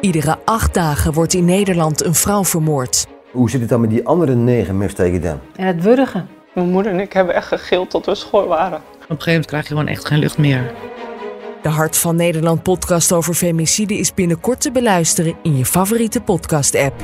Iedere acht dagen wordt in Nederland een vrouw vermoord. Hoe zit het dan met die andere negen mistake dan? En het wurgen. Mijn moeder en ik hebben echt gegild tot we schoor waren. Op een gegeven moment krijg je gewoon echt geen lucht meer. De Hart van Nederland podcast over femicide is binnenkort te beluisteren in je favoriete podcast-app.